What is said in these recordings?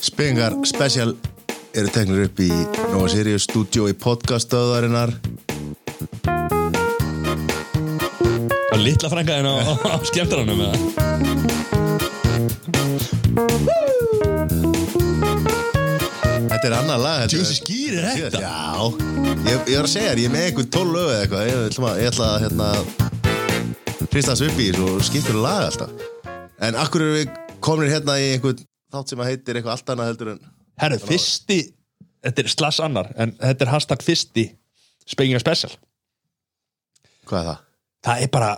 Íslendingar special eru teknir upp í Nova Sirius stúdjó í podcastöðarinnar Og litla frænkaðin á, á skemmtaranum eða? Þetta er annað lag þetta Djöfisins er- gýr er þetta? Já, ég, ég var að segja þér, ég er með einhvern tól lög eða eitthvað Ég ætla, að- ég ætla að hérna Hrista þessu upp í þessu og skiptur um lag alltaf En akkur eru við komin hérna í einhvern þátt sem að heitir eitthvað allt annað heldur en Herru, fyrsti, þetta er slass annar, en þetta er hashtag fyrsti Speaking of Special. Hvað er það? Það er bara,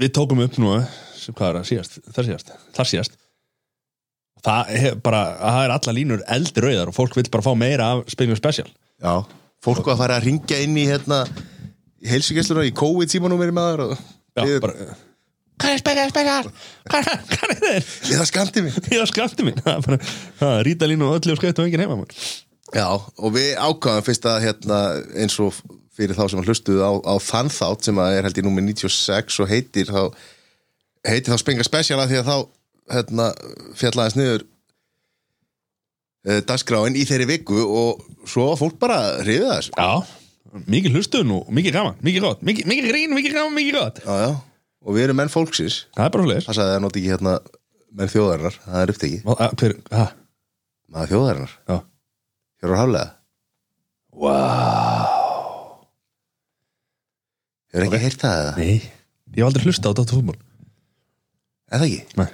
við tókum upp nú, sem hvað er það, síðast, þar síðast, þar síðast. Það er bara, það er alla línur eldrauðar og fólk vil bara fá meira af Speaking of Special. Já, fólk var að fara að ringja inn í hérna Helsingjösluna í COVID tímanúmeri maður og Já, Ég- bara, hvað er Speaking of Special? Hvað er, hvað er þeir? Ég það skamti mig Ég var skræfti mín, það er bara, það er rítalínu og öllu og skræfti og enginn heima. Man. Já, og við ákvaðum fyrst að hérna, eins og fyrir þá sem að hlustuðu á, á þann þátt sem að er held í númer 96 og heitir þá heitir þá Spenga Special að því að þá hérna, fjallaðist niður uh, dagskráin í þeirri viku og svo var fólk bara hrifið þessu Já, mikið hlustun og mikið gaman, mikið gott, mikið, mikið grín, mikið gaman, mikið gott. Já, já, og við erum menn fólksins Það er bara hlutir. passaði að það noti ekki hérna menn þjóðarinnar, það er upptekið Hver, hæ, maður þjóðarinnar, já. Hjörður Haflega Wow. Hefur ekki heyrt það eða? Nei, ég hef aldrei hlusta á Dóttu fútból. Er það ekki? Nei.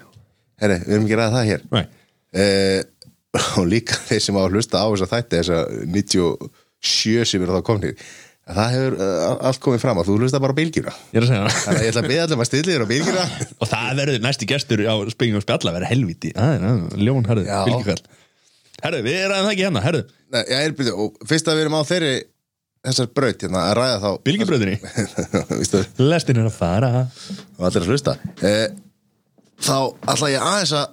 Herri, við erum ekki að ræða það hér Nei, Eh, og líka þeir sem á að hlusta á þess að þætti þess að 97 sem eru þá komnir að það hefur uh, allt komið fram að þú hlusta bara á bylgjuna ég er að segja það. þannig að ég ætla að beða allum að stilla þér á bylgjuna Og það verður næsti gestur á Spenging og Spjalla verður helviti. Það er það, ljón, herðu, Já. fylgjikall. Herðu, við erum það ekki hérna, herðu, Nei, já, er, byrju, og fyrst að við erum á þeirri þessar braut hérna að ræða þá bylgibröðinni. Vístu, Lestin er að fara. og allir að hlusta eh, þá ætla ég aðeins að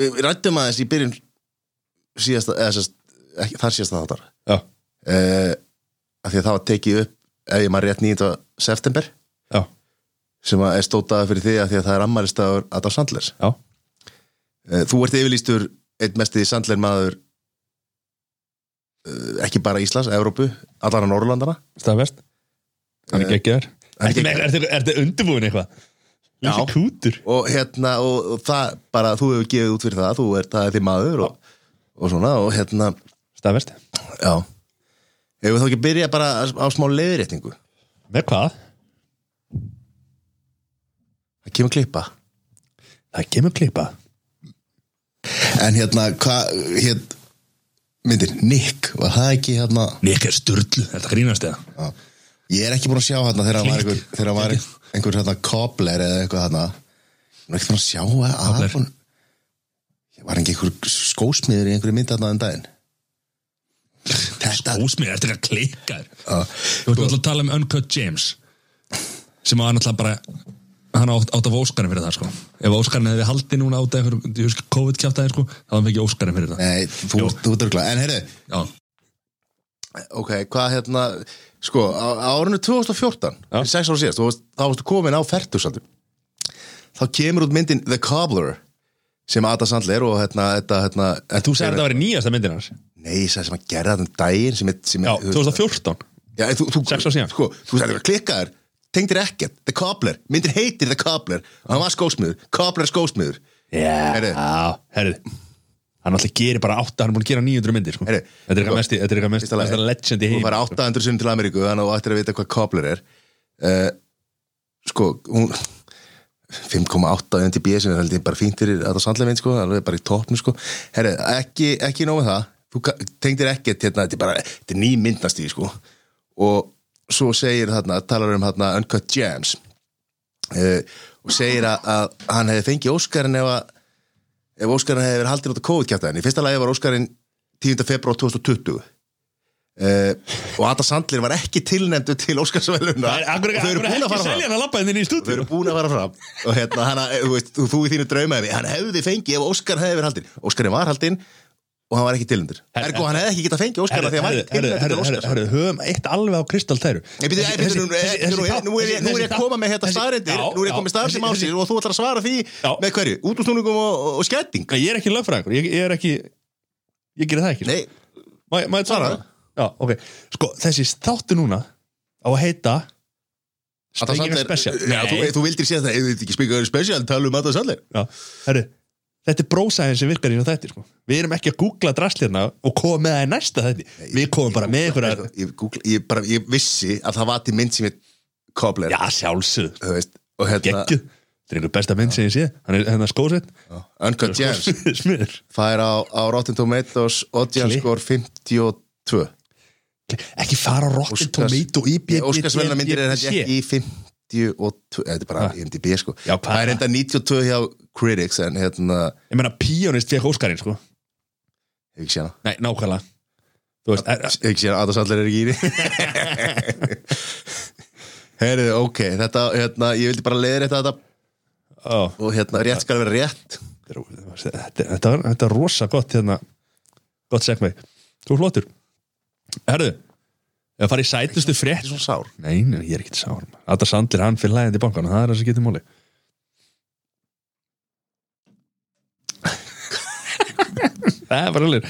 við við ræddum aðeins í byrjun síðasta, eða sérst, ekki, þar síðasta þáttar Já, eh, af því að það var tekið upp ef ég maður rétt 9. september já, sem að er stótaða fyrir því að því að það er ammælistagur Adam Sandler. já. Eh, Þú ert yfirlýstur einn mesti Sandler maður eh, ekki bara Íslands, Evrópu, allara Norrlandana. Staðfest. Hann er Eh, geggjaður. hann er Ertu með- Ertu ertu undirbúin eitthvað? Já. Lísi kútur. Og hérna, og, og það bara, þú hefur gefið út fyrir það, þú ert, það er því maður og, og svona, og hérna, Staðfest. já. Ef við þá ekki byrja bara á- á smá leiðréttingu. Með hvað? Það kemur klippa. Það kemur klippa. En hérna, hvað, hérna, myndir, Nick, var það ekki hérna... Nick er sturdlu, þetta grínast eða. Já. Ég er ekki búin að sjá hérna þegar hann var einhver, Klikt. þegar hann var einhver hérna kobler eða eitthvað hérna. Ég er ekki búin að sjá að Cobbler. Aron Ég var ekki einhver skósmiður í einhverju mynd hérna en daginn. Þetta, Ósmið, þetta er eitthvað klikkar. Já. Þú ert alltaf að tala um Uncut James, sem var náttúrulega bara, hann átt, átt af Óskarinn fyrir það, sko. Ef Óskarinn hefði haldið núna átt af einhver COVID-kjátaði, sko, þá hann fekk ég Óskarinn fyrir það. nei, þú, þú drögla. En heyrðu, Já. ok, hvað hérna, sko, á, á árinu 2014, Já. fyrir sex ára síðast, þú varst- þá varstu komin á fertugsaldur. Þá kemur út myndin The Cobbler, sem Ada Sandler og hérna, þetta, hérna, Þú segir þetta að vera nýjasta myndin hans. Nei, ég sagði sem að gera þetta um daginn sem, er- sem Já, er- þú veist- 2014. Já, en þú, þú, Sex ár síðan. Sko, þú sagði að klikkaður, tengdir ekkert The Cobbler, myndir heitir The Cobbler Hann var skósmiður, Cobbler er skósmiður Heyrðu. Já, herrið. Hann alltaf gerir bara átta, hann er búin að gera 900 myndir, sko. Heyrðu. Þetta er eitthvað mest, þetta er eitthvað mest, Fyrsta lagi. þetta er legend í Þú heim. fara 800 sunn til Ameríku Þannig að þú ættir að vita hvað Cobbler er uh, Sko, hún 5,8 MTB sem er held ég bara fínt fyrir að það sandlega mynd sko, alveg bara í toppnum sko Herri, ekki, ekki nóg með það þú ka- tengdir ekkert hérna, þetta er bara þetta er ný myndnast í sko og svo segir þarna, talar um þarna Uncut Gems uh, og segir að, að hann hefði fengið Óskarinn ef að ef Óskarinn hefði verið haldin út af COVID-kjæftaðin í fyrsta lagi var Óskarinn 10. februar 2020 uh, Eh, og Ada Sandler var ekki tilnefndu til Óskarsveluna Það er akkur Og þau eru akkur búin að ekki fara fram selja hann að lappa henni Þau í stúdíu. eru búin að fara fram og hérna, hana, þú, veist, þú, þú í þínu draumaði hann hefði fengið ef Óskar hefði verið haldinn Óskarinn var haldinn og hann var ekki tilhendur Herre, Ergo, hann hefði ekki getað fengið Óskar af því að hann var ekki tilhendur til Óskar Herru, höfum eitt alveg á kristaltæru Nei, byrju, þessi, þessi, þessi, þessi, þessi, nú, er ég, nú er ég að koma með hérna staðrindir Nú er ég að koma með staðrindir málsins og þú ætlar að svara því Já. með hverju? Útúrsnúningum og, og, og sketting Ég er ekki lögfræðingur, ég, ég er ekki ég gerir það ekki sko. Nei, Má ég, má ég svara það? Svaraðu. Já, ok. Sko, þessi þáttu núna á að heita Adam Sprengingar Special. Já, þú, Nei. þú vildir séð það, ef þú veit ekki sprengingar special, tala um Adam Sandler Já, herru, þetta er brósæðin sem virkar eins og þetta, sko. Við erum ekki að googla drastlirna og koma með það í næsta þetta. Við komum bara með einhverja... ég, googla, ég, bara, ég vissi að það var til mynd sem ég kobler Já, sjálfsögð. Þú veist, og hérna Gekkið. Þetta er einhver besta mynd sem ég sé. Hann er hennar skósett. Já, Uncut Gems Smyr. Það er á, á Rotten Tomatoes audience Klikk. score 52 Ekki fara á Rotten Óskars- Tomato í BBB. Óskarsvelna myndir er þetta ekki í 52 Þetta er bara Ha. IMDb sko Já, hvað- Það er enda 92 hjá Critics en hérna, Ég meina, Píonist fekk Óskarinn, sko. hef ekki séð hana Nei, nákvæmlega. Þú veist, er- Hef ekki séð hana, Adam Sandler er ekki í því Herðu, ok, þetta, hérna, ég vildi bara leiðir þetta á. og hérna, rétt skal vera rétt þetta, þetta, var- þetta er rosa gott hérna, gott segmei þú er flottur herðu, ef að fara í sætustu Þetta frétt er svona sár nei, nei, ég er ekkert sár maður. Adam Sandler, hann fyrir lægandi í bankanum, það er það sem getur móli það er bara alveg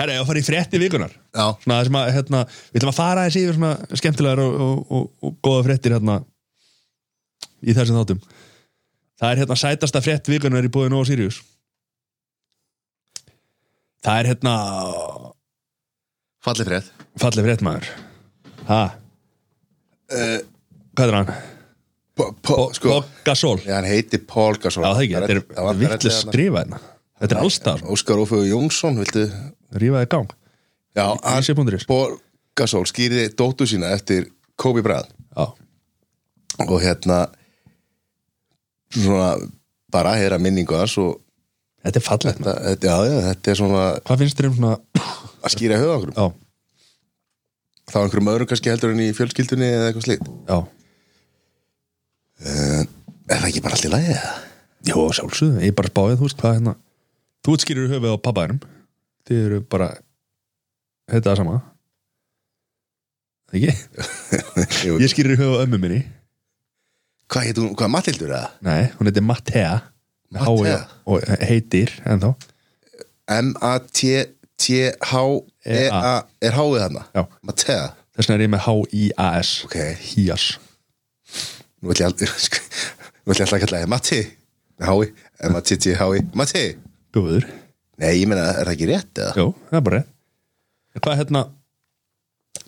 herðu, ef að fara í frétti vikunar Já, svona það sem að, hérna, við ætlum að fara þessi yfir svona skemmtilegar og, og, og, og góða fréttir hérna í þessum þáttum það er hérna sætasta frétt vikunar í búið Nóa Sirius það er hérna fallið frétt fallið frétt maður ha, Eh, uh, hvað er hann? po, po, Sko, Gasol, já Já, hann heiti Paul Gasol það ekki, þetta er, Það var- þetta er vittlega skrifa hérna þetta er allstað, Óskar Ófjör Jónsson, viltu rífaði gang Já, hann Ísjöpunduris, Paul Gasol skýrði dóttu sína eftir Kobe Bryant já, og hérna svona bara að heyra minningu hans og þetta er fallið það, þetta- já, já, þetta er svona hvað finnst þér um svona að skýra höfða okkur já, þá einhverjum öðrum kannski heldur en í fjölskyldunni eða eitthvað slíkt já, uh, Er það ekki bara allt í lagi eða? Jó, að sjálfsögðu, ég er bara spáðið, þú veist hvað hérna Þú útskýrir höfuð á pabbaðinum Þið eru bara Þetta það sama Ekki? Jú, Ég skýrir höfuð á ömmu minni Hvað heit hún, hvað Mattildur eða? Nei, hún heitir Mattea með hái Mattea? og- Og heitir ennþá M-A-T-T-H-E-A E Er háið hana? Já. Mattea Þess vegna er ég með H-I-A-S Ok, Hías nú ætlum ég alltaf Nú ætlum ég alltaf að kalla það Matti Hái, M-A-T-T-H-I E. Matti Guður Nei, ég meina, er það ekki rétt eða? Jó, það er bara rétt. En Hvað er hérna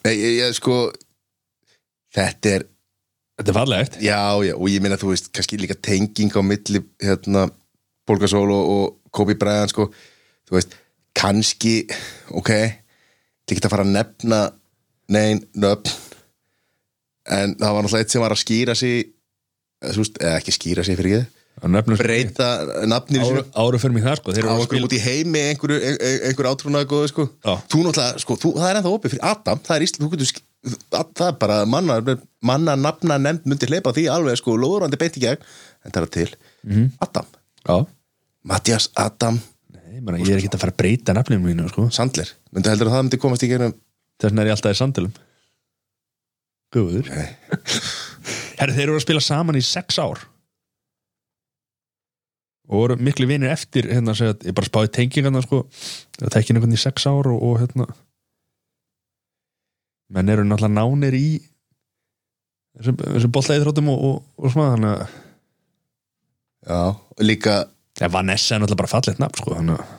Nei, ég, ég sko Þetta er Þetta er fallegt Já, já, og ég meina, þú veist, kannski líka tenging á milli, hérna, Bolgasól og, og Kobe Bryant, sko, þú veist, kannski, ok, til ekki að fara að nefna, nein, nöfn, en það var náttúrulega eitt sem var að skýra sig, eða, þú veist, eða ekki skýra sig fyrir ekki, Breit breyta nafninu Áru, sínu áru fyrir mig það sko Þeir á eru að einhverjum spila út í heimi, einhverju, ein- ein- einhverju átrúnaðgóðu, sko. Já. Þú náttúrulega, sko, þú, það er ennþá opið fyrir Adam, það er Ísland, þú getur, sk- þú- það er bara manna, manna nafna nefnd myndi hleypa því alveg, sko, lóðurandi beint í gegn, en það er til, Mhm. Adam, Já Mattias Adam Nei, ég meina, Ég er ekki að fara að breyta nafninu mínu sko Sandler, myndi heldur að það myndi komast í gegnum, Þess vegna er ég alltaf í sandilum Guður Nei. Herri, þeir eru að spila saman í sex ár og voru miklu vinir eftir hérna, segja, ég bara spáði tengingarna sko, að tekja einhvern í sex ár og, og hérna menn eru náttúrulega nánir í þessum, þessum boltaði þróttum og, og, og svona þannig að já, og líka, ja, Vanessa er náttúrulega bara fallegt nafn sko, þannig að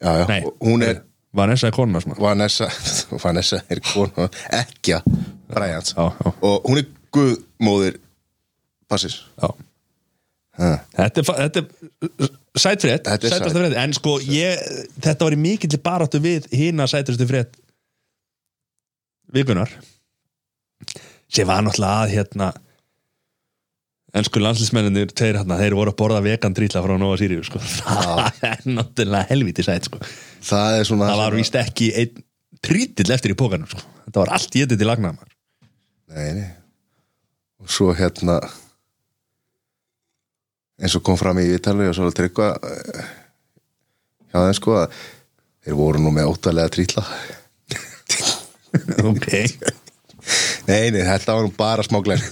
já, já, Nei. hún er Vanessa er konuna svona. Vanessa, Vanessa er konu, ekkja, Bryant, Já, já, og hún er guðmóðir, passir, já. hæ, Þetta er, fa- þetta er sætfrétt, Þetta er sætasta frétt en sko ég, þetta var í mikill baráttu við hina sætastu frétt vikunar sem var náttúrulega að hérna ennsku landslísmenninir tveir hérna, þeir voru að borða vegan drýla frá Nova Sirius sko. það er náttúrulega helviti sæt sko. það er svona, það var víst ekki einn trítill eftir í pókanum sko. þetta var allt getið til lagnaðar Nei, nei. Og svo hérna eins og kom fram í Ítali og svo að tryggva eh, hjá þeim sko að þeir voru nú með óttalega trýtla ok Nei, nei, þetta var nú bara smáglæn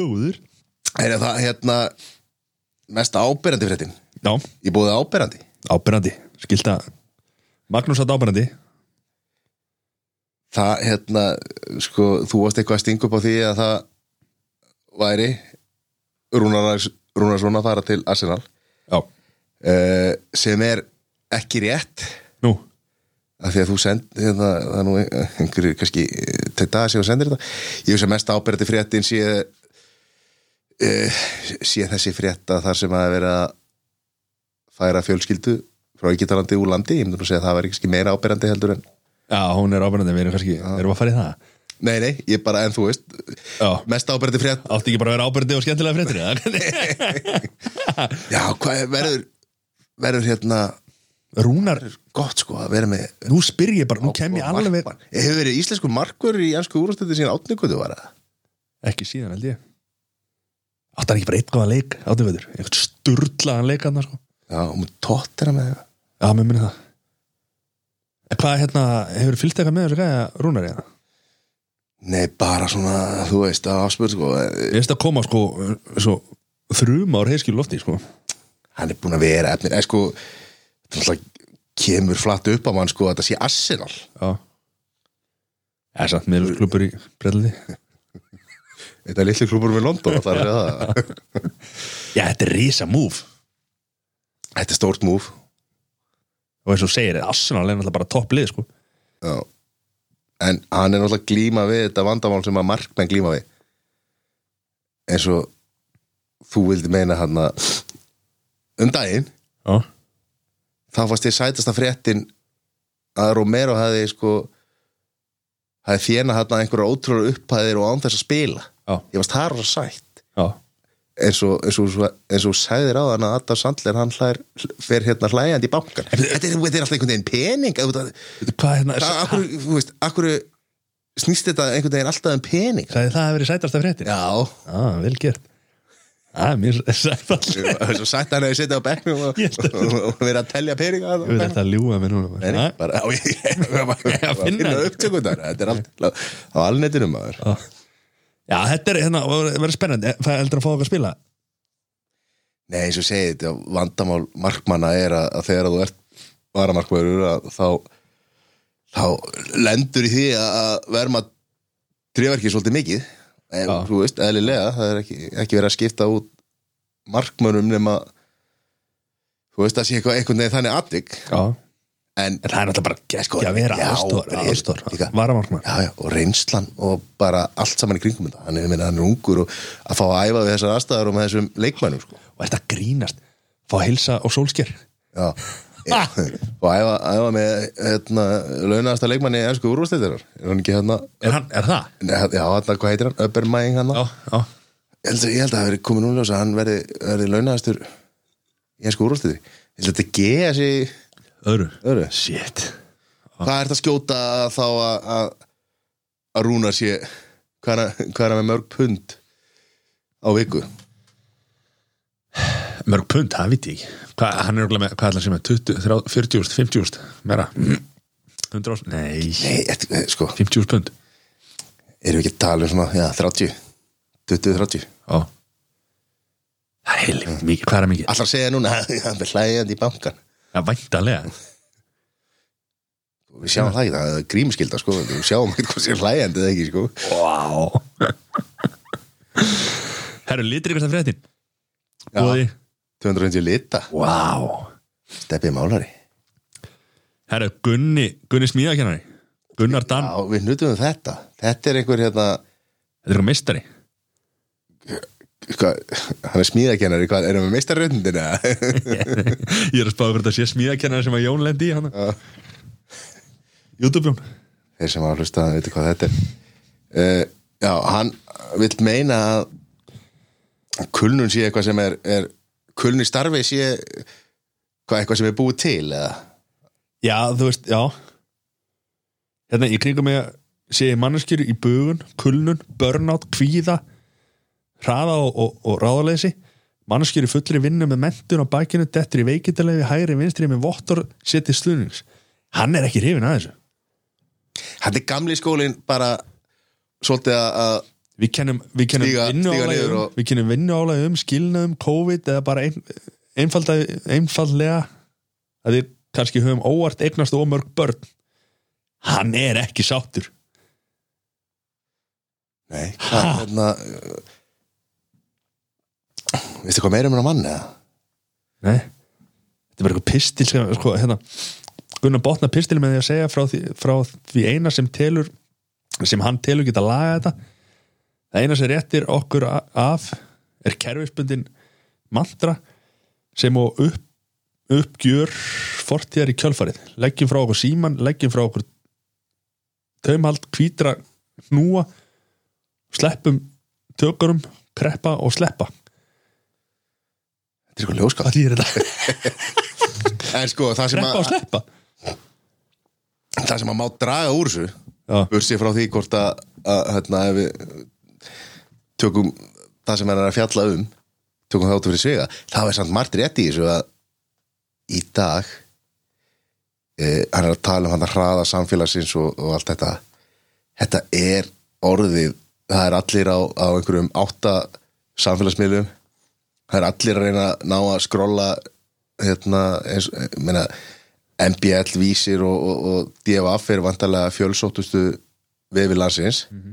góður Þeir það hérna mest ábyrjandi fréttin Já, Ég búið áberandi ábyrrandi, skilta Magnús að ábyrrandi Það, hérna, sko, þú varst eitthvað að stinga upp á því að það væri Rúnar Rúnarsson að fara til Arsenal Já, uh, sem er ekki rétt nú, af því að þú send hérna, það er nú einhverju kannski eh, til dag sem þú sendir þetta ég veist að mest ábyrgði fréttin sé uh, sé þessi frétta þar sem að vera að færa fjölskyldu frá ekki úr landi, ég myndi að segja að það var ekki meira ábyrgandi heldur en já, hún er ábyrrandi Við erum kannski, erum við að fara í það nei nei, ég bara, en þú veist Já, mest ábyrgði frétt, átti ekki bara að vera ábyrrandi og skemmtilega fréttir eða? já hvað er- verður verður hérna Rúnar, gott sko að vera með nú spyr ég bara, nú kem ég alveg Markmann. hefur verið íslensku markur í ennsku úrstöldi síðan átninguðu var það Ekki síðan held ég Átti hann ekki bara eitt góðan leik, átti veitur Eitthvað sturlaðan leik hann sko já, hún tóttir að með það Já, mér minni það En hvað, hérna, hefur fylgst eitthvað með þessu gæja Rúnar hérna? eða? Nei, bara svona, þú veist, að afspyrð sko, eh, Ég veist að koma sko, svo þrjum ár heiskil lofti sko hann er búin að vera efnir, eða sko þetta er alltaf kemur flatt upp á mann sko að þetta sé Arsenal Já Það er samt miðlurklubur í brellandi Þetta er litlu klubur með London, það er að segja það Já, þetta er risa múf Þetta er stórt múf Og eins og þú segir, Arsenal er náttúrulega bara topplið sko Já. En hann er náttúrulega glíma við þetta vandamál sem að markmenn glíma við eins og þú vildi meina hann að um daginn, Já þá fannst ég sætasta fréttin að Romero hefði sko hefði þjena hann að einhverja ótrúlega upphæðir og án þess að spila Já, ég varst það rosa sætt já eins og, eins og, eins og sagðir á hann að Adam Sandler hann hlær, fer hérna hlægjandi í bankan þetta er, þetta er alltaf einhvern veginn pening að, að, Veitu hvað hérna að, akkur, þú veist, akkur snýst þetta einhvern veginn alltaf um pening Sæði það að verið sætasta fréttir? já, Já, vel gert Já, mér sætt allir svo sætt hann hefur setið á bekknum og, Ég held og, og verið að telja peninga þarna á Ég veit bekknum. þetta að ljúga mér núna Nei, nei, bara. Ha? bara, á, ég, ég, Að finna finna þetta. upptökundar þetta er allt á alnetinu maður Já. Já, þetta er hérna, og verður spennandi Það er heldur að fá okkur að spila nei eins og segið þetta vandamál markmanna er að, að þegar þú ert varamarkmaður að þá þá lendur í því að- að verma trefverkið svolítið mikið en, Já. þú veist, eðlilega, það er ekki, ekki verið að skipta út markmönnum nema þú veist að sé eitthvað einhvern veginn þannig atvik Já. en En það er náttúrulega bara Sko, geggja að vera já, aðstór, bara er- líka. aðstór Varamarkmann Já, já, og reynslan og bara allt saman í kringum þetta. Hann er, ég meina, hann er ungur og að fá að æfa við þessar aðstæður og með þessum leikmænum, sko. Og þetta grínast, fá að hilsa og sólsker Já. og æfa, æfa með, hérna, launasta leikmanni í ennsku úrvastættirar. Er hann ekki hérna, Er, hann, er það? Nei, já, hérna, hvað heitir hann? Öbermæing hann? Já, já Ég held, að- ég held að það verið komin úrljós að hann verði, verði launastur í ennsku úrvastættir. Ég held að þetta geða sig, Öðru öru, Shit hvað er þetta að skjóta þá að, að, að rúna sé, hvað er, hann- hvað er hann með mörg pund á viku? Mörg pund, það viti ég ekki Hva, Hann er okkur með, hvað ætla að segja með 20, 30, 40 úrst, 50 úrst Meira 100 úrst, nei Nei, þetta, eh, sko, 50 úrst pund erum við ekki að tala um svona, já, 30 20-30 Já Það er heilum, mikið, hvað er það mikið? Allar segja núna, hann er hlægjandi í bankan Það er væntalega Við sjáum það ekki, það er grímskilda, sko Við sjáum ekki hvað sé hlægjandi eða ekki, sko Vá Herru, litur ykkur það fréttin Já. Bóði 250 lita, Vá steppið málari Herru, Gunni, Gunni smíðakennari Gunnar Dan, Já, við nutum við þetta Þetta er einhver, hérna þetta er eitthvað meistari hva, Hann er smíðakennari, hvað, erum við meistarröndina? Ég er að spáða hvort það sé smíðakennari sem að Jón lendi í hana YouTube Jón Þeir sem að hlusta, það veitir hvað þetta er uh, Já, hann vill meina að að kulnun sé eitthvað sem er, er kulnun í starfi sé hvað eitthvað sem er búið til eða Já, þú veist, já Hérna, í kringum mig sé ég manneskjur í bugun, kulnun, burnout, kvíða hraða og, og, og ráðaleysi manneskjur í fullri vinnu með mentun á bakinu, dettur í veikindalegi hægri vinstri með vottor, setið sluðnings Hann er ekki hrifin að þessu Þetta er gamli skólinn bara svolítið að- að Við kennum, um- við kennum Stíga- stíga vinnuálægum niður og- Við kennum vinnuálægum, skilnaðum, COVID um eða bara ein, einfalda, einfaldlega að við kannski höfum óvart eignast og mörg börn hann er ekki sáttur Nei, Ha? hvað, hérna Veistu hvað meira um hennar mann eða? Nei. þetta er bara eitthvað pistil sem, sko, hérna, Gunnar botna pistil með því að segja frá því, frá því eina sem telur sem hann telur geta laga þetta það eina sem réttir okkur a- af er kerfisbundin mantra sem og upp, uppgjör fortíðar í kjölfarið leggjum frá okkur síman, leggjum frá okkur taumhald, hvítra hnúa sleppum tökurum, kreppa og sleppa Þetta er eitthvað ljóskall hvað þýðir þetta? En sko, það sem, Kreppa og að, sleppa það sem að má draga úr þessu Já. Bursið frá því hvort að, að hérna, ef við tökum það sem hann er að fjalla um tökum það út fyrir svega það er samt margt rétt í þessu að í dag eh, hann er að tala um hann að hraða samfélagsins og, og allt þetta þetta er orðið það er allir á, á einhverjum átta samfélagsmiðlum það er allir að reyna að ná að skrolla hérna eins, eh, meina, MBL vísir og, og, og DFF er vantarlega fjölsóttustu vefi landsins Mhm.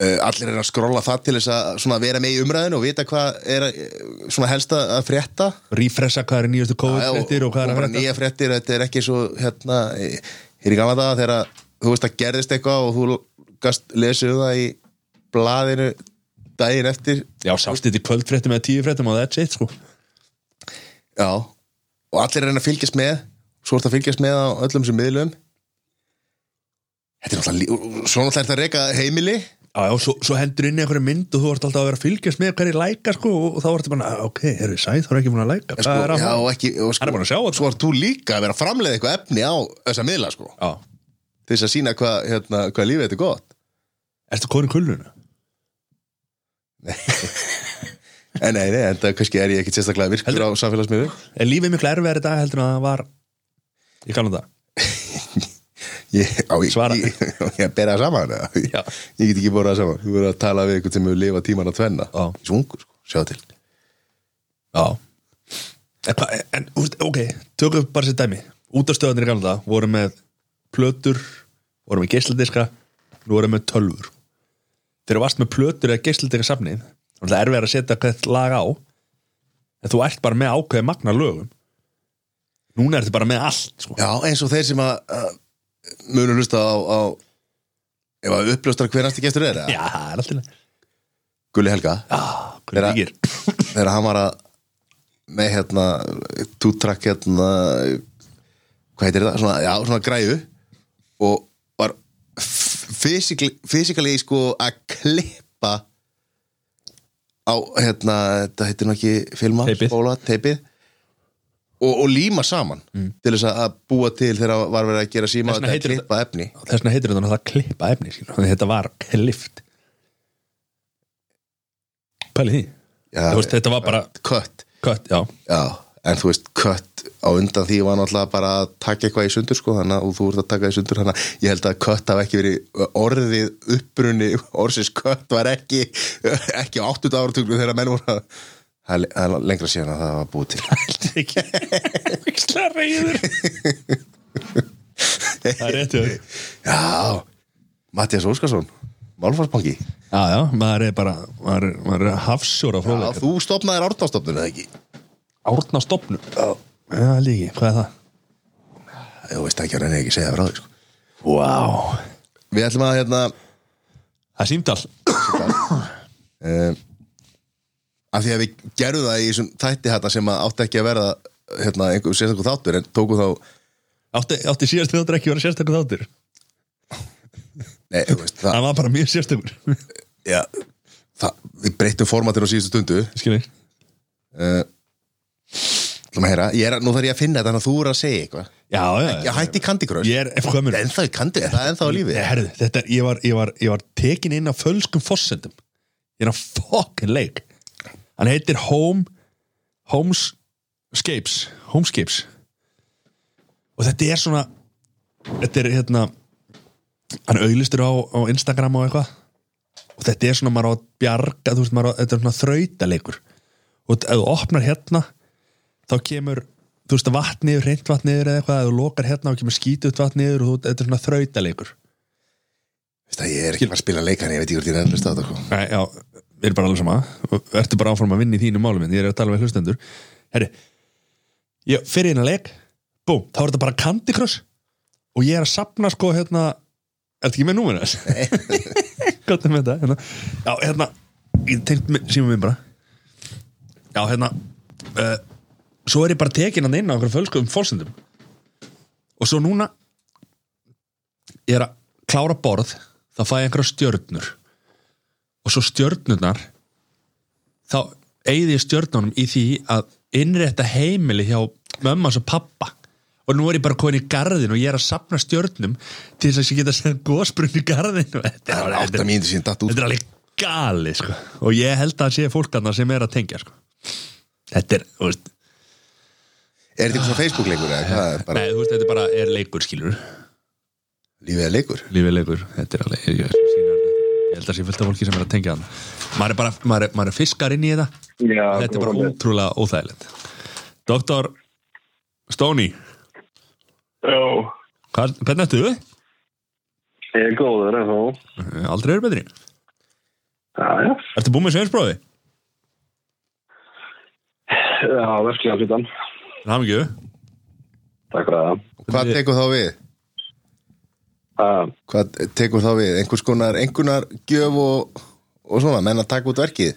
uh, allir reyna að skrolla það til þess að svona vera með í umræðinu og vita hvað er að, eh, svona helst að að frétta refresha hvað er í nýjastu COVID-frettir og hvað er að bara frétta nýja fréttir, þetta er ekki svo hérna, hér í gamla daga þegar að, þú veist að gerðist eitthvað og þú gast lesið um það í blaðinu daginn eftir Já, sást þetta í kvöldfrettum eða tíu frettum og that's it, sko já, og allir reyna að fylgjast með svo ert að fylgjast með á öllum sem miðlum þetta er náttúrulega lí- svo náttúrulega er þetta að reyka heimili Já, já, svo, svo hendur inn í einhverju mynd og þú ert alltaf að vera að fylgjast með hverju læka, sko og þá ertu bara, "Ah, ok, er við sæð, þú er ekki búin að læka sko, Hvað er að já, fara? og ekki, og Hann er sko, búin að sjá þetta, sko svo ert þú líka að vera að framleiða eitthvað efni á þessa miðla sko, Já, til þess að sína hvað hérna, hva lífið þetta er gott ertu konur kulnuna? en Eh, nei, nei, en það kannski er ég ekki sérstaklega virkur á samfélagsmiðlum Er lífið miklu erfiðar í dag heldur en að það var í kannan það? Ég, á, ég, Svara. Ég, ég að bera það saman eða? ég, Já. ég get ekki borað það saman Þú verður að tala við eitthvað sem hefur lifað tíman að tvenna Já. Svungur, sko, sjá til Já En, hva, en úst, ok, tökum bara sér dæmi Útastöðanir í gamla dag voru með plötur, voru með geisladiska nú voru með tölfur Þegar þú varst með plötur eða geisladiska safnið þá er það erfið að setja hvert lag á en þú ert bara með ákveði magna lögum Núna ertu bara með allt sko. Já, eins og þeir sem að, að munu hlusta á, á ef að uppljóstar hver næsti gestur er eða? Já, það er allt í lagi. Gulli Helga, Já, hvernig Þeirra- það gýr þegar hann var að með hérna, tútrakk hérna hvað heitir þetta, svona, já, svona græðu og var fysikali sko að klippa á hérna, þetta heitir nú ekki filma, Teipið. spóla, teipið og, og líma saman til þess að- að búa til þegar var verið að gera síma Mm. Þess þetta vegna að heitir klippa efni Þess vegna heitir þetta náttúrulega að klippa efni skilur. Þannig að þetta var klift Pæli því já, Þú veist, þetta var bara kött, kött, já já, en þú veist kött á undan því var náttúrulega bara að taka eitthvað í sundur sko, þannig að þú ert að taka í sundur þannig að ég held að kött hafi ekki verið orðið upprunni, orðsins kött var ekki, ekki á 80 áratuglu þegar menn voru að það er le- það er lengra síðan að það var búið til Heldur ekki Víksla reyður Það er réttu Já, já, Mattias Óskarsson Málfarsbanki, já, maður er bara maður er, maður er hafsjóra já, fróðleik þú stopnaðir ártastofnun eða ekki, Árna stopnu Já, já líki, hvað er það? þú veist ekki að reyna ekki að segja frá því sko. Vá wow. við ætlum að hérna Það er símtal uh, af því að við gerum það í þessum tætti hérna sem að átti ekki að verða hérna, einhver sérstakur þáttur en tóku þá Átti, átti síðast þáttur ekki að vera sérstakur þáttur nei, þú veist, það, Það var bara mjög sérstakur ja, það, við breytum formatinu á síðustu stundu Skilur ætlum að heyra, ég er, að- nú þarf ég að finna þetta þannig að þú eru að segja eitthvað Já, já, ég hætti Candy Crush, Ég er eitthvað Það gömur er ennþá í Candy það er ennþá á lífi Nei, herðu, þetta er, ég var, ég var, ég var tekin inn á fölskum fossendum Ég er á fokkin leik Hann heitir Home Homescapes Homescapes Og þetta er svona Þetta er hérna Hann auðlistur á, á Instagram og eitthvað Og þetta er svona maður á að bjarga Þú veist, maður á, þetta er svona þrautaleikur og ef þú opnar hérna þá kemur, þú veist, vatn yfir reynd vatn yfir eða eitthvað, ef þú lokar hérna þá kemur skítut vatn yfir og þú, þetta er svona þrautaleikur Veist það, ég er ekki að spila leikarni, ég veit ekki hvort ég er ennlega státt okkur. Nei, já, við erum bara alveg sama og ertu bara áfram að vinna í þínu málum en ég er að tala við hlustendur Herri, ég fyrir inn að leik búm, þá er þetta bara Candy Crush og ég er að sapna sko hérna ertu ekki með númur þess? Gott er með þetta hérna. Já, hérna, ég tengt síma minn bara Já, hérna uh, svo er ég bara tekin hann inn á okkur fölskuðum fórsendum og svo núna ég er að klára borð þá fæ ég einhverja stjörnur og svo stjörnurnar þá eigði ég stjörnunum í því að innrétta heimili hjá mömmas og pappa og nú er ég bara komin í garðin og ég er að sapna stjörnum til þess að ég geta að segja gósbrunn í garðin og þetta Það er, var þetta átta er, mínútur síðan datt út. þetta er alveg gali sko. og ég held að sé fólk þarna sem er að tengja sko. þetta er, þú veist, Er þetta eitthvað svona Facebook-leikur eða hvað er bara nei, þú veist þetta er bara er leikur skilur lífið að leikur? lífið leikur, þetta er alveg ég, ég, ég held að sé fullt af fólki sem er að tengja hann maður er bara, maður er, maður er fiskar inn í þetta Já, þetta er bara ótrúlega óþægilegt Doktor Stóni, Já, hvað- hvernig ertu? Eh, ég er góður en þú. Aldrei eru betri Já, já. Ertu búinn með sveinsbróði? Já, verklega hlutan. Það hafði ekki Takk fyrir það. Hvað tekur þá við? Það, Hvað tekur þá við? Einhvers konar, einhvernar gjöf og, og svona, menn að taka út verkið?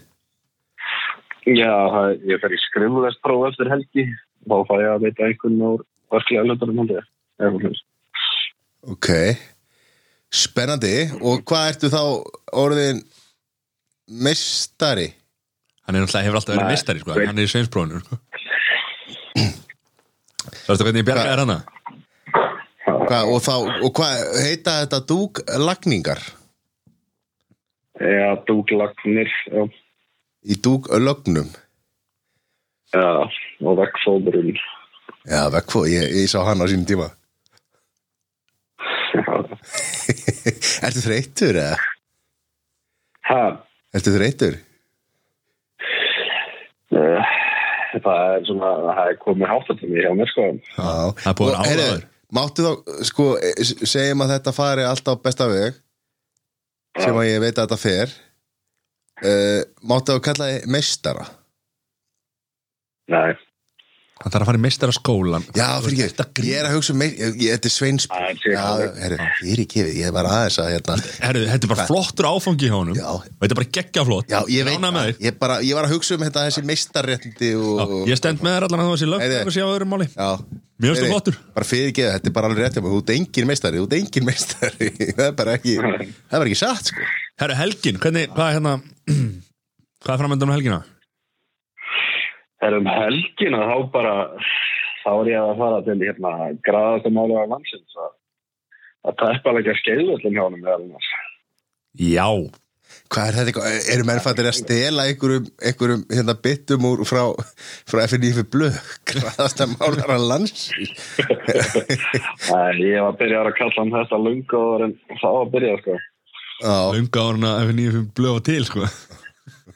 já, það- ég fer í skriflest próf eftir helgi. Þá fæ ég að veita einhvern úr verklega hlutan um handið. Ok, spennandi og hvað ertu þá orðin mistari? Hann er náttúrulega hefur alltaf verið Nei. mistari sko. Hann er í sveinsbróðinu sko. Það ertu hvernig ég bjargaði hana? Hva, og, þá, og hvað heita þetta dúklagningar? Já, dúglagnir. Já, Í dúklögnum? já og vekkfóðurinn. Já, vekkfó, ég, ég sá hann á sínum tíma. ertu þreytur eða? Ha, Ertu þreytur? eh, það er svona, það er komið háttatími hjá mér sko. Já, það er búið að Og, vera heyrðu, álagur. Máttu þá, sko, e, s- segjum að þetta fari alltaf besta veg sem að ég veit að þetta fer uh, Máttu þá kalla þið meistara? Nei, Hann þarf að fara í mistara skólan Já, fyrir ekki, ég er að hugsa um meir, ég, ég, þetta er Sveins Það er Já, sikkert. herri, fyrir ekki, ég var aðeins að hérna Herru, þetta er bara flottur áfangi hjá honum Já. og þetta er bara geggja flott Já, ég veit Rána með þig ég, bara, ég var að hugsa um þetta, þessi meistarréttindi Já, og, Ég stend með þér allan að það var sér lög Heyrðu. og sé á öðrum máli Já Mjög stu Heyrðu, flottur Bara fyrir ekki, þetta er bara alveg rétt hjá mér, Þú ert engin meistari, þú ert engin meistari Það er bara ekki, það er bara ekki satt sko. Herru, helgin, hvernig, hvað er hérna Hvað er framöndan á helgina? er um helgina þá bara, þá er ég að fara til hérna graðastamálega landsins að, að teppa leikja skeiðvöldum hjá honum meðal annars. Já Hvað er þetta, eitthvað- eru menn fættir að stela einhverjum, einhverjum hérna byttum úr frá, frá FNF blöð Hvaðast að málara lands Æ, ég var að byrja að kalla hann þetta lungaður en þá var að byrja sko. Já, Lunga árna ef nýjum fyrir blöð og til sko.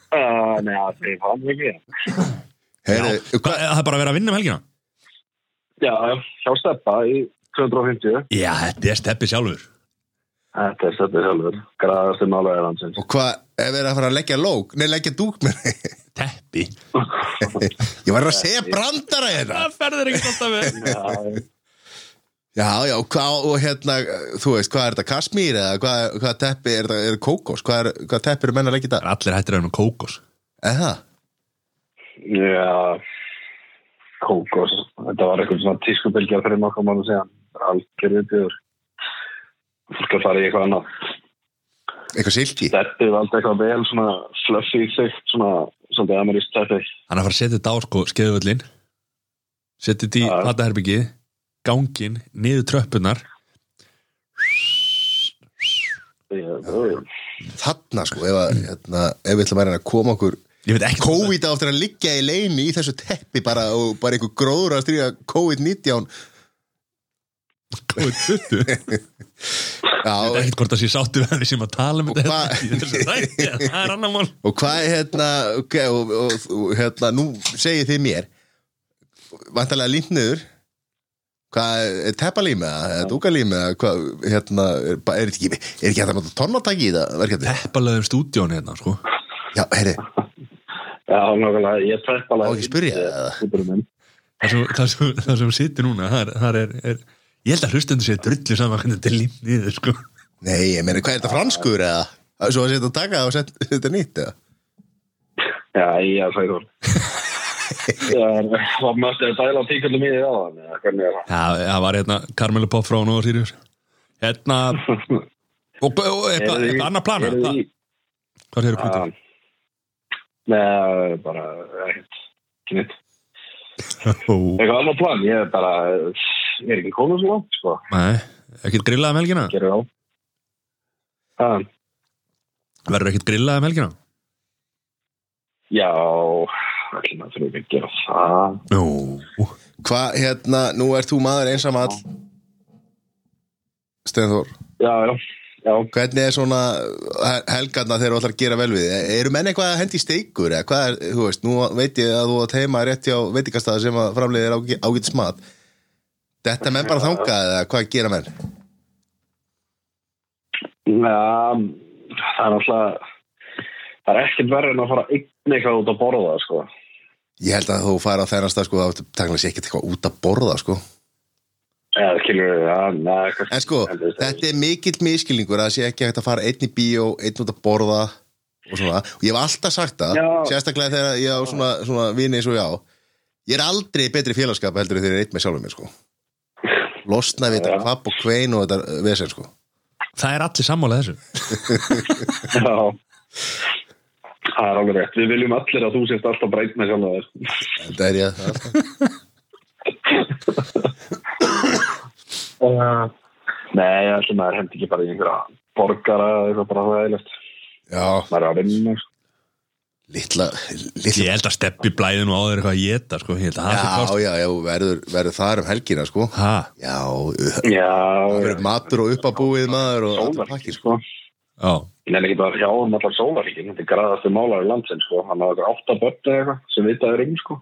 Uh, nei, það er hann ekki. heyrðu, Hva, Það er bara að vera að vinna um helgina Já, hjá Steppa í 250. Já, þetta er steppi sjálfur Þetta er Steppi sjálfur, graðastamálega landsins. Og hvað, ef við erum að fara að leggja lók Nei, leggja dúk með Teppi Ég var að segja brandara hérna Það ferður ekki alltaf við Já, Já, já, og hvað, og hérna Þú veist, hvað er þetta, kasmír eða hvað, hvað teppi, er þetta, er þetta kókos Hvað, er, hvað teppi eru menn að leggja þetta Allir hættir að vera með kókos Er það? já, kókos. Þetta var eitthvað svona tískubilgja fyrir nokkuð mánu síðan. Algjörðu björ. Fólk að fara í eitthvað annað. Eitthvað silki? Steppi valdi eitthvað vel svona fluffy þygt svona svolítið amerísk steppi. Hann er að fara að setja þetta á sko skeðuöllin Setja þetta í Já. fataherbyggið Gangin, niður tröppunar Já, Þarna, sko, ef, að, hérna, ef við ætlum að reyna að koma okkur Ég veit ekki COVID áttur að liggja í leini í þessu teppi bara og bara einhver gróður að stríða COVID-19 Góð 20 Þetta er Já, ekkert hvort það sé sáttu við að við sem að tala um Og þetta hvað- í þessu þætti, en Það er annar mál og hvað er hérna ok, og, og, og hérna, nú segið þið mér vantarlega línniður hvað, er teppalím eða dúkalím eða hvað, hérna er, ba- er ekki, er ekki hægt að nota tónnataki í það verkefni? Teppalöðum stúdíón hérna sko Já, herri, Já, nákvæmlega, ég tætt Má alveg ekki spyrja það? Fútbolminn. Það sem, það sem, það sem situr núna þar, þar er, er Ég held að hlustendur sé drullu saman hvernig þetta er límniður sko nei, ég meina, hvað er þetta franskur eða? Svo að setja að taka það og setja þetta nýtt eða? Já, ég er sæður Það var mest að dæla tíkallum í því á hann eða hvernig er það? Já, það var hérna Carmelo Pop frá Nóa Sirius Hérna Og, og eitthvað Eruð þið- eitthvað annað plana eruð Hvað hvað þið í- segir kvita? Já. Nei, bara ekkert ekki neitt. Ah. Ó, Eitthvað annað plan, ég er bara ég er ekki komið svo langt, sko Nei, ekkert grillað um helgina gerir á Það, Verður ekkert grillað um helgina já allir maður þurfum ekki að gera það Nú, Hvað, hérna, nú ert þú maður einsamall Steinþór Já, já, já Hvernig er svona he- helgarna þegar þú ætlar að gera vel við? þig? Eru menn eitthvað að hendi steikur? Eða hvað er, þú veist, nú veit ég að þú átt heima rétt hjá veitingastæða sem að framleiðir ágæ- ágætis mat. Þetta menn bara þangað eða hvað gera menn? Já, það er alltaf það er ekkert verður en að fara einn eitthvað út að borða, sko Ég held að þú fær á þennan stað sko, þá ertu takkilega sér ekkert eitthvað út að borða sko. Já, skilur við, já, neða En sko, þetta er mikill miskilningur að það sé ekki hægt að fara einn í bíó, einn út að borða og svona. Og ég hef alltaf sagt það, Já. sérstaklega þegar ég á svona, svona vini eins og ég á. Ég er aldrei í betri félagskap heldur en þegar ég er einn með sjálfum mér, sko. Losna við þetta Já. kvapp og kvein og þetta vesen, sko. það er allir sammála þessu Já Það er alveg rétt, við viljum allir að þú sést alltaf breyt með sjálf þér Þetta er ég að... uh, Nei, ég ætlum að hendi ekki bara í einhverja borgara eða eitthvað bara hlæðilegt Já, maður er að vinna sko. litla... litla Ég held að steppi blæðinu á þeir eitthvað að geta sko, ég held að það sé já, kost já, já, verður, verður þar um helgina, sko. Ha, Já, það Já, verður matur og uppabúið maður og alltaf sólarhingin pakkir, sko. sko. já, Ég nefnir ekki bara hjá um allar sólarhingin þetta er graðastu málar í landsinn sko. hann hafði eitthvað átta börn eða eitthvað sem vitaður inn sko.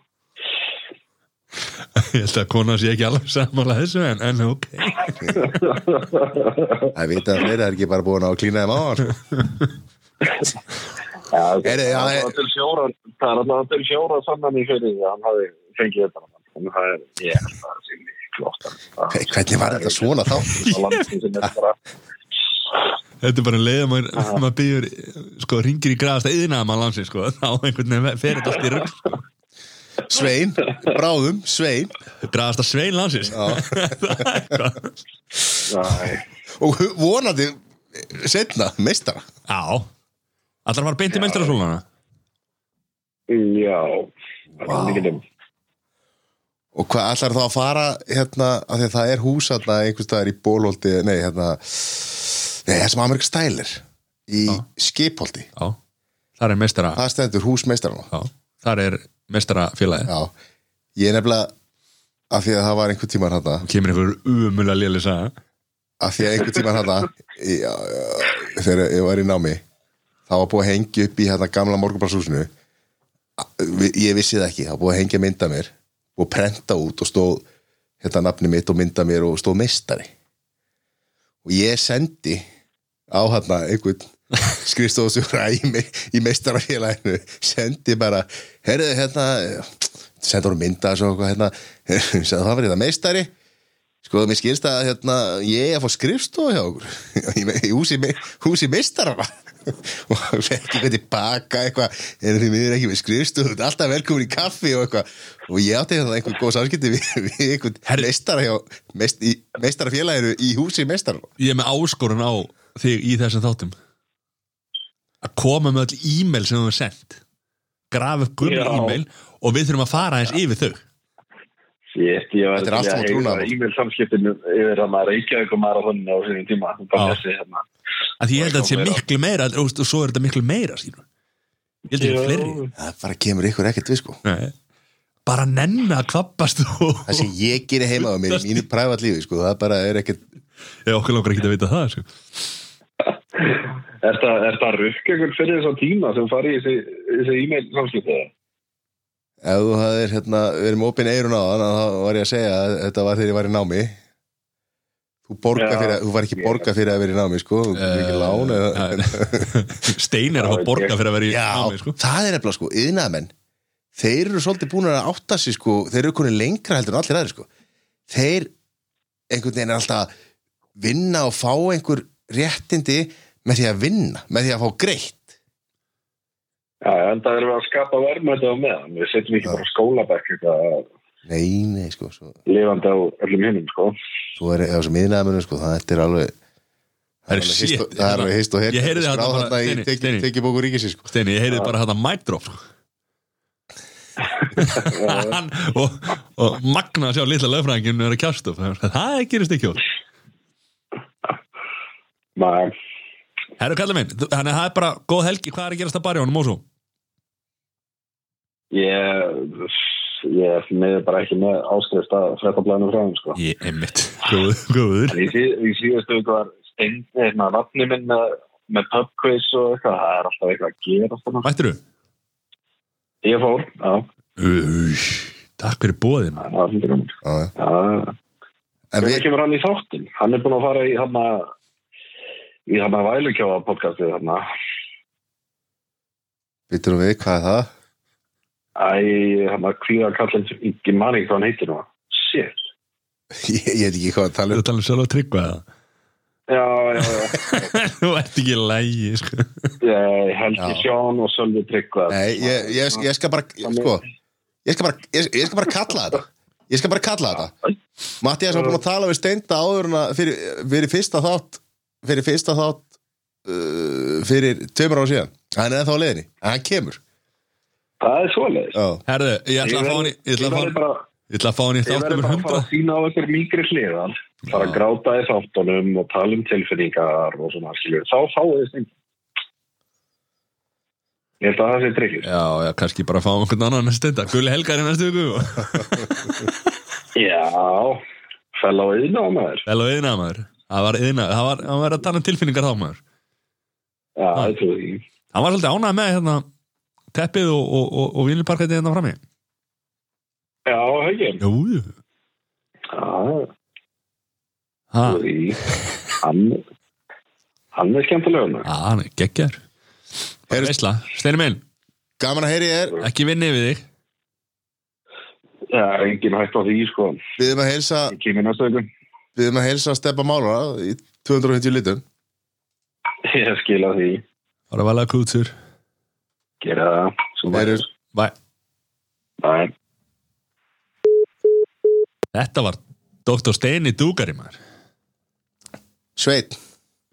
ég held að konan sé ekki alveg sammála þessu en, en ok Það vita að þeirra er ekki bara búin að klína þeim á sko. hann. Já, það Heyrðu, er já, alltaf til fjóra það er alltaf til fjóra sannan í fyrir því að hann hafði fengið þetta þannig að það er, ég held að það sé miklu oftar. Það- Hvernig var þetta svona þá? á landinu sem er bara Þetta er bara leiðum að maður býður sko, ringir í graðasta yðnaðum að landsin sko, þá einhvern veginn fer þetta allt í rögg sko. Svein, bráðum, Svein graðasta svein landsins Það er eitthvað. Nei. og vonandi setna, meistara Já Allar að fara beint í meistarasólana Já Það er mikið um. og hvað ætlar þá að fara hérna, af því að það er hús hérna einhvers staðar í Bólholti, nei hérna nei, það sem Amerika stælir í Já. Skipholti, Já, þar er meistara það stendur hús meistarana Já, þar er meistarafélagi já, ég er nefnilega af því að það var einhver tíman hérna Kemur einhver umulega léli saga af því að einhver tíman hérna í- já, já, þegar ég var í námi það var búið að hengja upp í hérna gamla morgunbrasshúsinu Vi- ég vissi það ekki, það var búið að hengja mynda mér og prenta út og stóð hérna nafni mitt og mynda mér og stóð meistari og ég sendi á hérna einhvern skrifstofasjóra í, me- í meistarafélaginu sendi bara, herðu hérna sendur hún mynda svo eitthvað hérna, sagði það var hérna meistari sko, mér skilst að hérna ég er að fá skrifstofu hjá okkur í me- í húsi, me- húsi meistarana og ekki hvað tilbaka eitthvað, en því miður ekki með skrifstofu þú ert alltaf velkomin í kaffi og eitthvað og ég átti hérna einhver góð samskipti við, við einhvern Herri- meistara hjá meist, í, meistarafélaginu í húsi meistarana Ég er með áskorun á þig í þessum þáttum að koma með öll e-mail sem þú er sendt grafa upp gummi Já. e-mail og við þurfum að fara eins yfir þau Shit, ég var Þetta er allt saman trúnaðarmál. e-mail samskiptinu yfir að maður reykja eitthvað maður á þannig á sínum tíma bara Já. þessi hérna að því ég held að þetta sé Meira. miklu meira og, og svo er þetta miklu meira skilur. ég held að þetta sé fleiri það bara kemur ykkur ekkert við sko Nei. bara nenna að kvappast og það sem ég gerir heima á mér í mínu prævat lífi sko, það bara er ekkert ég okkur langar ekki að vita það sko. Er þetta rukk ykkur fyrir þessa tíma sem fari í þessi- þessi e-mail samskiptaða? ef þú hafðir hérna, verið með opinn eirun á þann þá var ég að segja að þetta var þegar ég var í námi þú borga Já. fyrir að, þú var ekki borga fyrir að vera í námi sko, þú uh, Eh, ekki lán eða, Stein er að fá borga fyrir að vera í já, námi sko. það er nefnilega sko, yðnaðamenn þeir eru svolítið búin að átta sig sko, þeir eru konið lengra heldur en allir aðri sko þeir einhvern veginn er alltaf að vinna og fá einhver réttindi með því að vinna, með því að fá greitt Já, en það erum við að skapa verðmæti á meðan. Við setjum ekki Já. bara skólabæk eitthvað nei, nei sko, svo, lifandi á öllum hinnum, sko. svo er það sem yðnaðamennu sko, það þetta er alveg Það er alveg shit. hist og- það er alveg hist og Ég heyrði hér þetta skráð bara- þarna Steini, í Steini. tekibóku ríkisins sko. Steini, ég heyrði bara þetta mic drop sko. Hann, og, og magna að sjá litla löfræðingin er að kjást upp, það gerist ekki oft Maður, Herru kallið minn, þú- þannig að það er bara góð helgi, hvað er að gerast að barja honum og svo? ég, ég er því miður bara ekki með áskrift að frettablaðinu frá þeim, sko. Ég er mitt, góður, góður. En í, síð, í síðustu ykkur var stein, hérna, vatni minn með, með pub quiz og eitthvað. Það er alltaf eitthvað að gera, sko. Mættirðu? Ég fór, já, Új, Takk fyrir bóðin það var fyrir gaman. Já, já. Já, en Hvernig við, kemur hann í þáttin? Hann er búin að fara í hann að í hann að vælukjáða podcastið hann að við við hvað er það æ, hann að kvíða kallin ekki manni hvað hann heitir nú shit, ég, ég veit ekki hvað að tala Þú um talar sjálf að tryggva það já, já, já Þú ert ekki lægi sko. Eh, Helgi Já. Sjón og Sölvi Tryggva Nei, ég, ég, ég skal bara sko, ég skal bara, ég, ég skal bara kalla þetta ég skal bara kalla þetta Mattias var búin að tala við Steinda áður en að fyrir, fyrir fyrsta þátt fyrir fyrsta þátt uh, fyrir tveimur ára síðan hann er ennþá á leiðinni, en hann kemur það er svoleiðis Já, Herðu, ég ætla að fá hann í- ég ég ætla að fá verði hann- bara ég ætla að fá hann í ég verði þáttum bara að 100 fara að sína á einhver mingri hliðan fara Já. að gráta í þáttunum og tala um tilfinningar og svona skilur þá fáið þess þing ég held að það sé tryggir Já, já, kannski bara fáum einhvern annan að stenda Gulli Helgar í næstu viku já, fell á yðna á maður Vel og yðna maður Það var yðna, það var, það var að tala um tilfinningar þá maður Já, Já. ég trúi því. Hann var svolítið ánægð með hérna teppið og, og, og, og vinilparkætið hérna frammi Já, höggjum. Jú, jú Já, Ha, trúi því. Hann, hann er skemmtilega hann. ha, hann er geggjar Heyrðu- Veistla, Steini minn, gaman að heyri er ekki vinni við þig Já, engin hægt á því, sko. við erum að heilsa, Ég kemur næstu ykkur. við erum að heilsa Steppa Málara í 250 litum Ég skila því. Það var alveg kútur Gera það. Svo Heyrðu. væri. Bæ Nei. Þetta var Dr. Steini Dúgari maður Sveinn,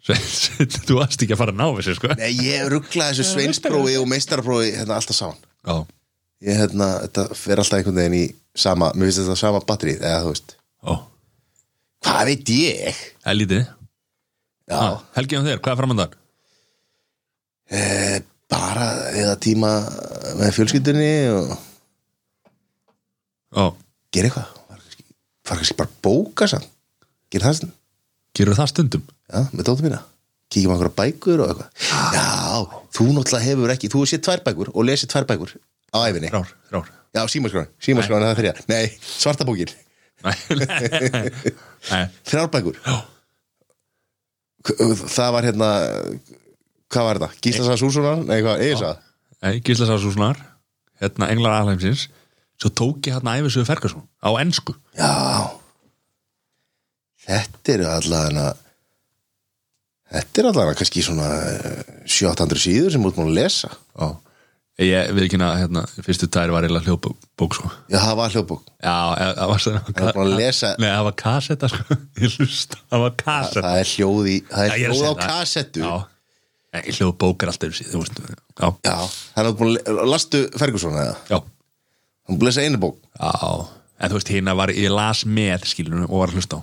Sveinn, Þú varst ekki að fara að ná þessu sko nei ég ruggla þessu sveinsprófi og meistarprófi hérna alltaf saman Já, ég hérna, þetta fer alltaf einhvern veginn í sama, mér finnst þetta sama batterið, eða þú veist ó, hvað veit ég? það er lítið Já, ah, Helgi um þér, hvað er framöndan? eh, bara eða tíma með fjölskyldunni og Ó, gera eitthvað fara kannski, fara kannski bara að bóka samt gera það sem, gerur það stundum? já, með dóttu mína kíkjum á einhverja bækur og eitthvað já, þú náttúrulega hefur ekki, þú sé tvær bækur og lesi tvær bækur á æfinni Þrár, þrár já, símaskráin, símaskráin er það þriða nei, svarta bókin, Nei, nei, þrjár bækur Já. K- það var hérna hvað var þetta, Gíslasa Súsunar nei, hvað, Eisa, nei eh, Gísla Sásúsnar Hérna Englar Alheimsins Svo tók ég hérna æfisuðu Ferguson Á ensku já þetta eru allavega þetta eru allavega kannski svona eh, 700 síður sem út múin að lesa Ó Ég við ekki hérna, fyrstu tæri var eiginlega hljóðbók sko já, það var hljóðbók, Já, eh, það var svona það er búin að lesa Nei, það var kassetta sko Ég hlusta, það var kassetta það er hljóð í, það Já, ég er er að hljóð á segja það. kassettu já, Já, Nei, hljóðbók er alltaf síðan, þú veist Já, það er búin að le- lastu Ferguson eða, já, hann búin að lesa einu bók já En þú veist, hérna var, ég las með skilunum og var að hlusta á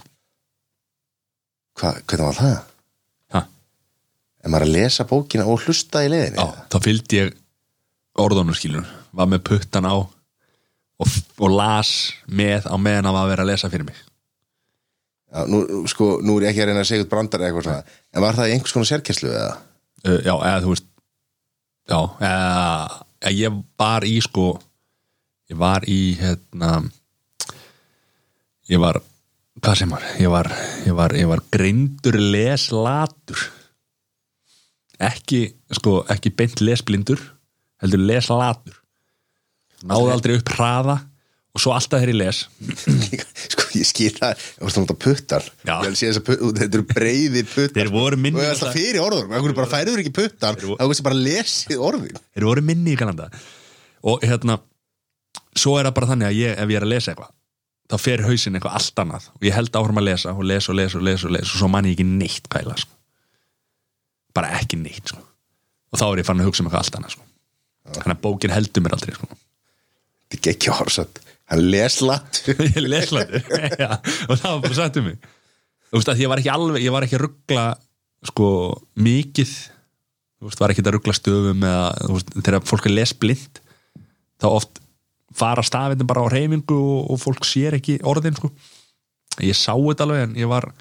Hva, hvernig var það? Ha, en maður er að lesa bókina og hlusta í leiðinni Já, þá fylgdi ég orðunum skilunum Var með puttan á og og, og las með á meðan hann var að vera að lesa fyrir mig Já, nú, sko, nú er ég ekki að reyna að segja út brandar eða eitthvað svona, en var það í einhvers konar sérkesslu eða? uh, já, eða þú veist já, eða, eða ég var í sko ég var í hérna ég var hvað sem var, ég var, ég var, ég var greindur leslatur ekki sko, ekki beint lesblindur heldur leslatur náði aldrei upp hraða og svo alltaf þegar ég les sko, ég skil það, ég varst að nota puttar Já. ég sé þess að puttar, þetta eru breiði puttar þeir voru og minni um það er alltaf fyrir orðunum, það er bara færiður ekki puttar Þeir voru- það er kannski bara lesið orðin þeir voru minni í Kanada og hérna svo er það bara þannig að ég, ef ég er að lesa eitthvað þá fer hausinn eitthvað allt annað og ég held áfram að lesa og lesa og lesa og lesa og lesa og svo man ég ekki neitt hvað ég las sko. bara ekki neitt sko. og þá er ég fann að hugsa um eitthvað allt annað sko. þannig að bókin heldur mér aldrei sko. þetta er ekki orðsatt, hann les latur ég lesla þetta og það var bara sagt um mig þú veist að ég var ekki alveg, ég var ekki að ruggla sko mikið þú veist, var ekki að ruggla stöfum eða þú veist, þegar fólk er lesblind þá oft fara stafindin bara á reyfingu og, og fólk sér ekki orðin sko ég sá þetta alveg en ég var,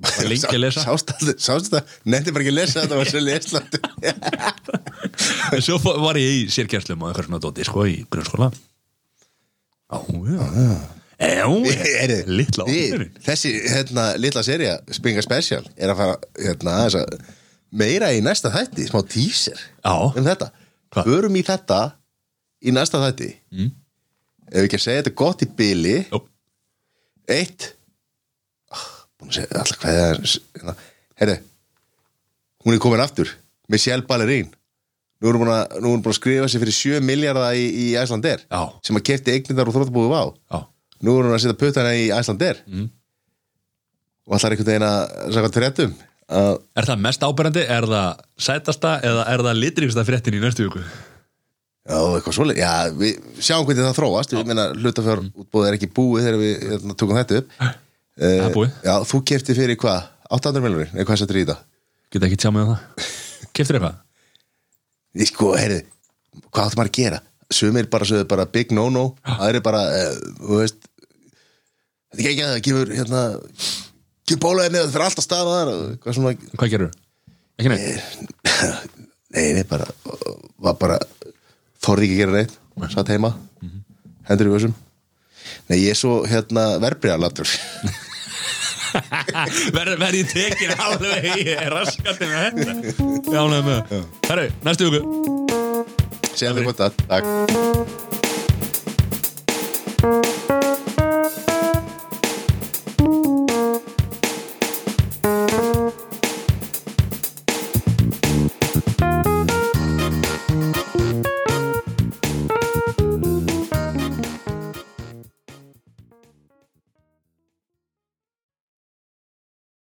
var lengi að lesa sást þetta, sást þetta, nefndi bara ekki að lesa þetta var svo les latur en svo fó- var ég í sérkjænslum og eitthvað svona dóti sko í grunnskóla á, já já, já, litla áfyrir þessi hérna, litla seria, Springa Special er að fara hérna, aðeins að meira í næsta þætti, smá teaser já, um þetta, Hva? förum í þetta í næsta þætti Mm. ef við ekki að segja þetta gott í byli Jó. eitt Ah, búin að segja alltaf hvað það er hérna. herri hún er komin aftur, Michelle Ballerín nú er hún búin að, nú er hún búin að skrifa sér fyrir 7 miljardar í, í Æslandir já, sem að kefti eignindar og þróttabúðu vá já nú er hún að setja puttana í Æslandir Mm. og allar einhvern veginn að sagða trettum að Er það mest áberandi, er það sætasta eða er það litrýmsta fréttin í næstu viku? Já, eitthvað svolítið, já, við sjáum hvernig það þróast Ég meina, hlutafjör útbóðið er ekki búið þegar við hérna, tökum þetta upp uh, er búið. Já, þú kefti fyrir hvað? 800 miljonir, eða hvað settir í þetta? Geta ekki tjá mig á það? Keftir eitthvað? Ég sko, heyrðu, hvað áttu maður að gera? Sumir bara sögðu bara big no-no aðri bara, eh, þú veist Þetta er ekki að það gefur hérna, gefur bólaðið niður fyrir alltaf staðar og hvað svona Hvað gerur? Ekki neitt? Nei, nei, bara, var bara þorði ekki að gera neitt, satt heima hendur í vössum Nei, ég er svo, hérna, verbriða Verð ver ég tekin alveg í raskatinn að þetta? Já, nefnum. Herru, næstu viku. Segðum við gott að, takk Takk.